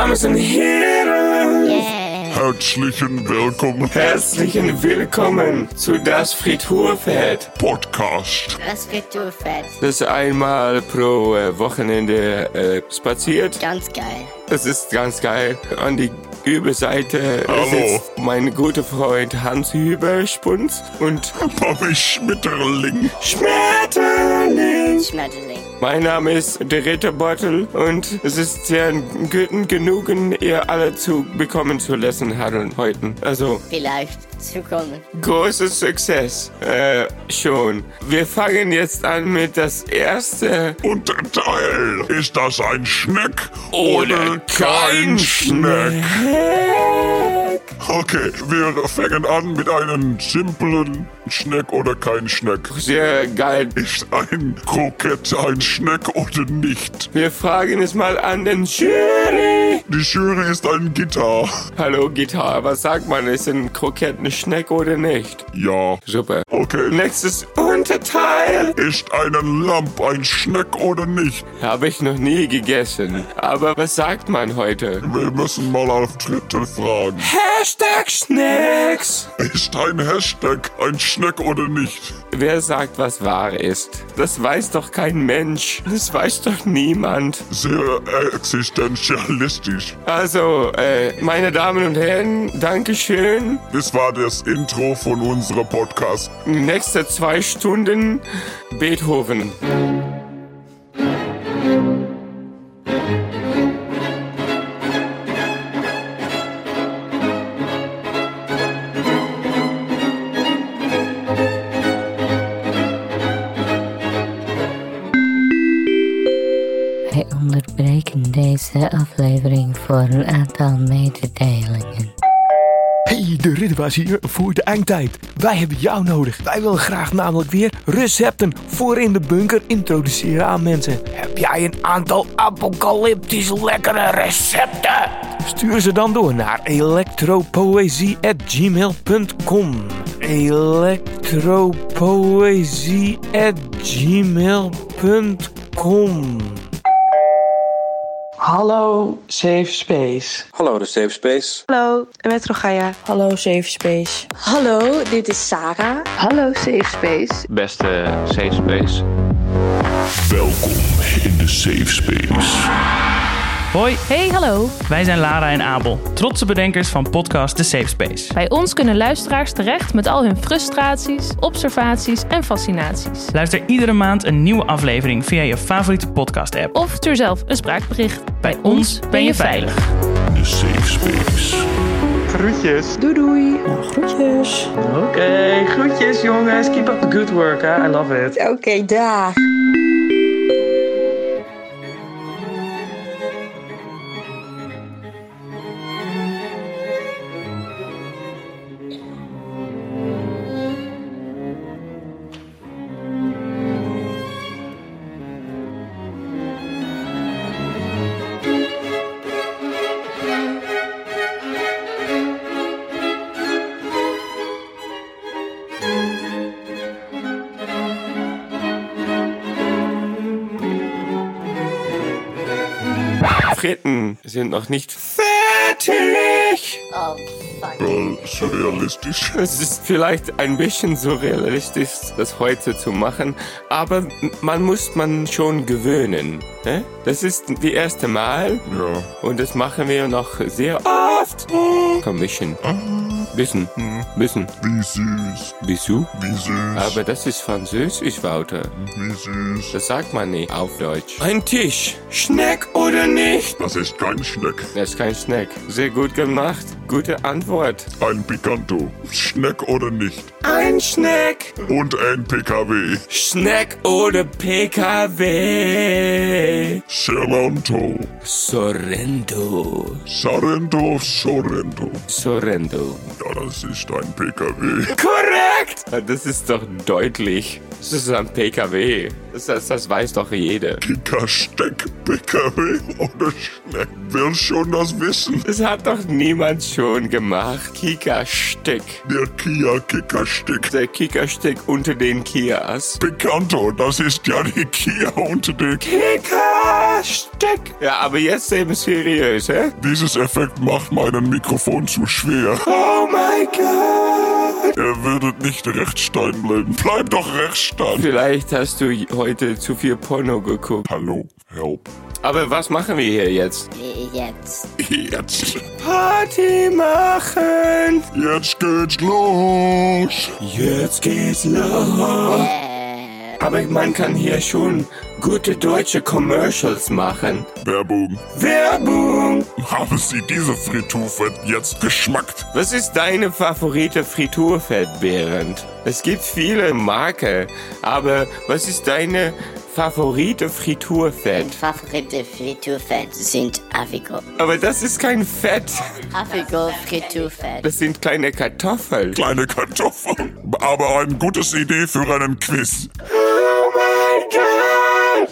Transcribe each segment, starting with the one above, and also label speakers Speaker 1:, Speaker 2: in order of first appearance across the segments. Speaker 1: Boys and Heroes.
Speaker 2: Äh,
Speaker 3: Herzlichen Willkommen
Speaker 1: Herzlichen Willkommen zu Das Friturfett,
Speaker 3: Podcast.
Speaker 2: Was wird du fett?
Speaker 1: das einmal pro äh, Wochenende äh, spaziert.
Speaker 2: Ganz geil.
Speaker 1: Es ist ganz geil. An die Überseite
Speaker 3: Hallo.
Speaker 1: sitzt mein guter Freund Hans Hüberspunz und
Speaker 3: Mami Schmetterling.
Speaker 1: Schmetterling.
Speaker 2: Schmetterling.
Speaker 1: Mein Name ist der Ritterbeutel und es ist sehr ein guten Genügen, ihr alle zu bekommen zu lassen, Harold, heute. Also,
Speaker 2: Vielleicht zukommen.
Speaker 1: großes Success. Äh, schon. Wir fangen jetzt an mit das erste
Speaker 3: Und Teil. Ist das ein Schneck oder kein Schneck? Okay, wir fangen an mit einem simplen Schneck oder kein Schneck.
Speaker 1: Sehr geil.
Speaker 3: Ist ein Krokett ein Schneck oder nicht?
Speaker 1: Wir fragen es mal an den Jury.
Speaker 3: Die Jury ist ein Gitter.
Speaker 1: Hallo, Gitarre. Was sagt man? Ist ein Krokett eine Schnecke oder nicht?
Speaker 3: Ja.
Speaker 1: Super.
Speaker 3: Okay.
Speaker 1: Nächstes Unterteil.
Speaker 3: Ist einen Lamp ein Schneck oder nicht?
Speaker 1: Habe ich noch nie gegessen. Aber was sagt man heute?
Speaker 3: Wir müssen mal auf Twitter fragen.
Speaker 1: Hashtag Snacks.
Speaker 3: Ist ein Hashtag ein Schneck oder nicht?
Speaker 1: Wer sagt, was wahr ist? Das weiß doch kein Mensch. Das weiß doch niemand.
Speaker 3: Sehr existenzialistisch.
Speaker 1: Also, äh, meine Damen und Herren, Dankeschön.
Speaker 3: Das war das Intro von unserem Podcast.
Speaker 1: Nächste zwei Stunden Beethoven.
Speaker 4: Wij onderbreken deze aflevering voor een aantal mededelingen.
Speaker 5: Hey, de Ridderbaas hier voor de eindtijd. Wij hebben jou nodig. Wij willen graag namelijk weer recepten voor in de bunker introduceren aan mensen. Heb jij een aantal apocalyptisch lekkere recepten? Stuur ze dan door naar electropoesie@gmail.com. electropoesie@gmail.com.
Speaker 6: Hallo Safe Space.
Speaker 7: Hallo, de Safe Space.
Speaker 8: Hallo, Metro Gaia.
Speaker 9: Hallo Safe Space.
Speaker 10: Hallo, dit is Sarah.
Speaker 8: Hallo Safe Space.
Speaker 11: beste safe space.
Speaker 3: Welkom in de Safe Space.
Speaker 12: Hoi,
Speaker 9: Hey, hallo.
Speaker 12: wij zijn Lara en Abel, trotse bedenkers van podcast The Safe Space.
Speaker 9: Bij ons kunnen luisteraars terecht met al hun frustraties, observaties en fascinaties.
Speaker 12: Luister iedere maand een nieuwe aflevering via je favoriete podcast-app.
Speaker 9: Of stuur zelf een spraakbericht.
Speaker 12: Bij ons ben je veilig.
Speaker 3: De Safe Space.
Speaker 8: Doei doei.
Speaker 9: Groetjes.
Speaker 6: Oké, groetjes jongens. Keep up the good work, hè. I love it.
Speaker 10: Oké, dag.
Speaker 1: Fritten sind noch nicht fertig.
Speaker 2: Oh, fuck.
Speaker 3: Wel surrealistisch.
Speaker 1: Es ist vielleicht ein bisschen surrealistisch, das heute zu machen, aber man muss man schon gewöhnen. Ne? Das ist die erste Mal
Speaker 3: Ja.
Speaker 1: und das machen wir noch sehr oft. Komm, bisschen. Bisschen. Bisschen.
Speaker 3: Wie süß.
Speaker 1: Bisou.
Speaker 3: Wie süß.
Speaker 1: Aber das ist Französisch, Wouter.
Speaker 3: Wie süß.
Speaker 1: Das sagt man nicht auf Deutsch. Ein Tisch. Schneck oder nicht?
Speaker 3: Das ist kein Schneck.
Speaker 1: Das ist kein Snack. Sehr gut gemacht. Gute Antwort.
Speaker 3: Ein Picanto. Schneck oder nicht.
Speaker 1: Ein Schneck.
Speaker 3: Und ein PKW.
Speaker 1: Schneck oder PKW?
Speaker 3: Sorrento.
Speaker 1: Sorrento.
Speaker 3: Sorrento, Sorrento.
Speaker 1: Sorrento.
Speaker 3: Ja, das ist ein PKW.
Speaker 1: Korrekt! Das ist doch deutlich. Das ist ein PKW. Das, das, das weiß doch jeder.
Speaker 3: Dicker Steck, PKW oder Schneck. Will schon das wissen.
Speaker 1: Das hat doch niemand schon gemacht. Kika-Stick.
Speaker 3: Der Kia Kickerstick.
Speaker 1: Der Kika-Stick unter den Kias.
Speaker 3: Picanto, das ist ja die Kia unter den...
Speaker 1: Kika-Stick. Ja, aber jetzt eben seriös, hè?
Speaker 3: Dieses Effekt macht meinen Mikrofon zu schwer.
Speaker 1: Oh my god.
Speaker 3: Er würde nicht recht stehen bleiben. Bleib doch recht stehen.
Speaker 1: Vielleicht hast du heute zu viel Porno geguckt.
Speaker 3: Hallo, help.
Speaker 1: Aber was machen wir hier jetzt?
Speaker 2: Wie jetzt?
Speaker 3: Jetzt.
Speaker 1: Party machen!
Speaker 3: Jetzt geht's los.
Speaker 1: Jetzt geht's los!
Speaker 2: Eh,
Speaker 1: Aber man kann hier schon gute deutsche Commercials machen.
Speaker 3: Werbung.
Speaker 1: Werbung!
Speaker 3: Haben Sie diese Fritufe jetzt geschmackt?
Speaker 1: Was ist deine favorite Friturfett, Berend? Es gibt viele Marken, aber was ist deine favorite Friturfett?
Speaker 2: mijn favoriete frituurvet sind Avigo.
Speaker 1: Aber das ist kein Fett,
Speaker 2: Avigo frituurvet.
Speaker 1: das sind kleine Kartoffeln.
Speaker 3: Kleine Kartoffeln. Aber eine gute Idee für einen Quiz.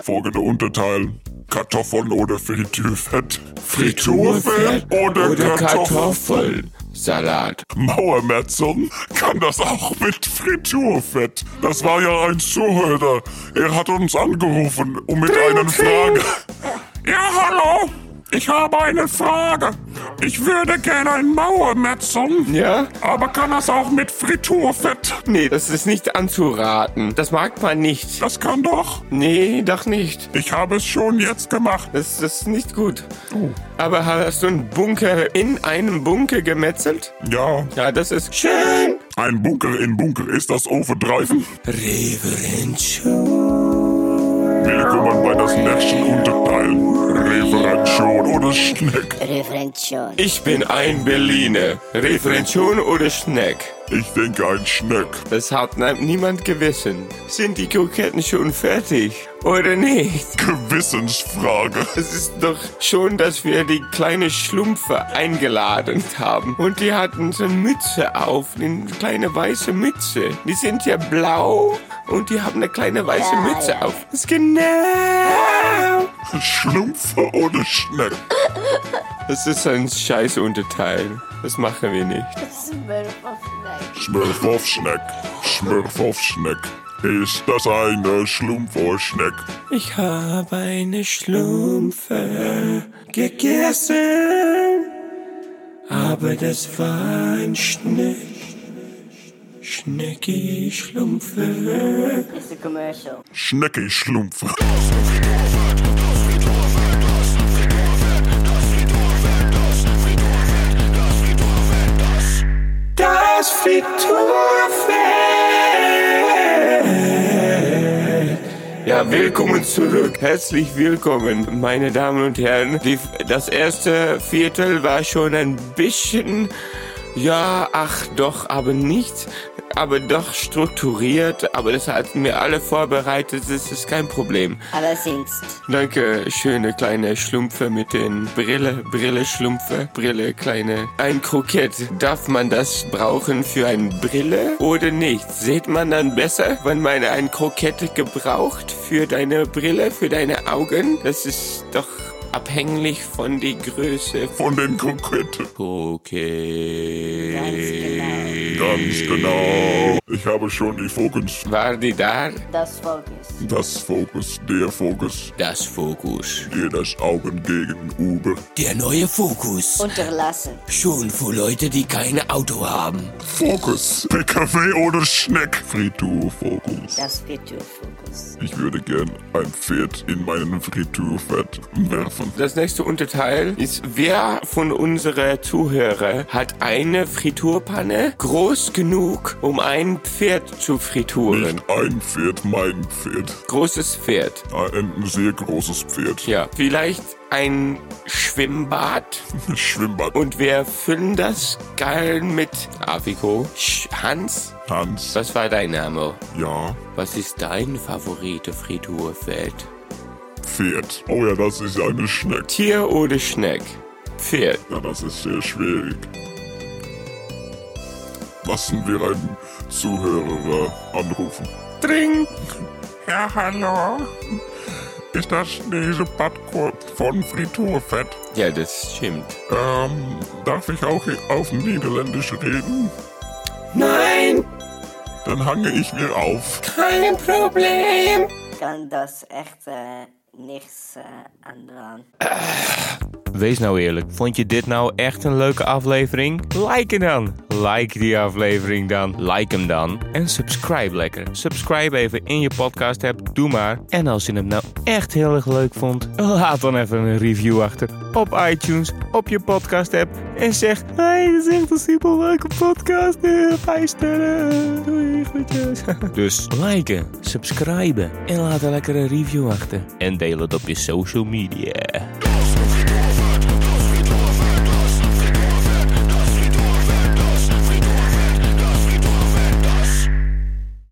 Speaker 3: Folgende Unterteil. Kartoffeln oder Fritürfett? Fritürfett oder, Kartoffeln?
Speaker 1: Salat.
Speaker 3: Mauermetzung kann das auch mit Friturfett. Das war ja ein Zuhörer. Er hat uns angerufen um mit einer Frage. Ja, hallo. Ich habe eine Frage. Ich würde gerne ein Mauermetzung.
Speaker 1: Ja?
Speaker 3: Aber kann das auch mit Friturfett?
Speaker 1: Nee, das ist nicht anzuraten. Das mag man nicht.
Speaker 3: Das kann doch.
Speaker 1: Nee, doch nicht.
Speaker 3: Ich habe es schon jetzt gemacht.
Speaker 1: Das, das ist nicht gut. Aber hast du einen Bunker in einem Bunker gemetzelt?
Speaker 3: Ja,
Speaker 1: Ja, das ist schön.
Speaker 3: ein Bunker in Bunker ist das overdreifen. Willkommen bei das nächsten Unterteil. Referation oder Schneck.
Speaker 2: Referention.
Speaker 1: Ich bin ein Berliner. Referention oder Snack?
Speaker 3: Ich denke ein Schneck.
Speaker 1: Das hat ni- niemand gewissen. Sind die Kroketten schon fertig? Oder nicht?
Speaker 3: Gewissensfrage.
Speaker 1: Es ist doch schon, dass wir die kleine Schlumpfe eingeladen haben. Und die hatten so eine Mütze auf, eine kleine weiße Mütze. Die sind ja blau und die haben eine kleine weiße
Speaker 2: Ja,
Speaker 1: Mütze
Speaker 2: ja.
Speaker 1: auf. Das ist genau.
Speaker 3: Schlumpfe oder Schneck.
Speaker 1: Das ist ein scheiß Unterteil. Das machen wir nicht.
Speaker 2: Smurf of snack.
Speaker 3: Smurf auf Schneck. Smurf auf Schneck. Ist das eine Schlumpf oder Schneck?
Speaker 1: Ich habe eine Schlumpfe gegessen, aber das war ein Schneck. Schnecki Schlumpfe.
Speaker 2: It's a commercial.
Speaker 3: Schnecki Schlumpfe.
Speaker 1: Das Friturfett. Ja, willkommen zurück. Herzlich willkommen, meine Damen und Herren. Die, das erste Viertel war schon ein bisschen, ja, ach doch, aber nicht, aber doch strukturiert. Aber das hatten wir alle vorbereitet, das ist kein Problem.
Speaker 2: Aber sind's.
Speaker 1: Danke, schöne kleine Schlumpfe mit den Brille, Brille, Schlumpfe, Brille, kleine. Ein Krokett, darf man das brauchen für eine Brille oder nicht? Seht man dann besser, wenn man ein Krokett gebraucht für deine Brille, für deine Augen? Das ist doch abhängig von die Größe.
Speaker 3: Von den Kroketten.
Speaker 1: Krokett.
Speaker 2: Ganz genau.
Speaker 3: Ganz genau. Ich habe schon die Fokus.
Speaker 1: War die da?
Speaker 2: genau. Das Focus.
Speaker 3: Das Fokus, der Fokus,
Speaker 1: Das Fokus.
Speaker 3: dir das Augen gegenüber.
Speaker 1: Der neue Fokus.
Speaker 2: Unterlassen.
Speaker 1: Schon für Leute, die keine Auto haben.
Speaker 3: Fokus, PKW oder Schneck. Friturfokus.
Speaker 2: Das Frituurfocus.
Speaker 3: Ich würde gern ein Pferd in meinen Friturfett werfen.
Speaker 1: Das nächste Unterteil ist, wer von unserer Zuhörer hat eine Friturpanne groß genug, um ein Pferd zu frituren?
Speaker 3: Nicht ein Pferd, mein Pferd.
Speaker 1: Großes Pferd.
Speaker 3: Ein sehr großes Pferd.
Speaker 1: Ja, vielleicht ein Schwimmbad
Speaker 3: Schwimmbad.
Speaker 1: und wir füllen das geil mit Afiko. Sch- Hans,
Speaker 3: Hans.
Speaker 1: was war dein Name?
Speaker 3: Ja.
Speaker 1: Was ist dein favorite Friturfeld?
Speaker 3: Pferd. Oh ja, das ist eine Schneck.
Speaker 1: Tier oder Schneck? Pferd.
Speaker 3: Ja, das ist sehr schwierig. Lassen wir einen Zuhörer anrufen.
Speaker 1: Dring!
Speaker 3: Ja, hallo. Ist das deze Badkorb von Friturfett?
Speaker 1: Ja, das stimmt.
Speaker 3: Ähm, darf ich auch auf Niederländisch reden?
Speaker 1: Nein,
Speaker 3: Dann hange ich mir auf.
Speaker 1: kein Problem.
Speaker 2: Kan dat echt eh, niks eh, aan doen.
Speaker 7: Wees nou eerlijk, vond je dit nou echt een leuke aflevering? Like hem dan! Like die aflevering dan, like hem dan. En subscribe lekker. Subscribe even in je podcast app, doe maar. En als je hem nou echt heel erg leuk vond, laat dan even een review achter. Op iTunes, op je podcast app. En zeg, hey, dit is echt een super leuke podcast. Eh, Vijf sterren, doei, groetjes. Dus liken, subscriben en laat een lekkere review achter. En deel het op je social media.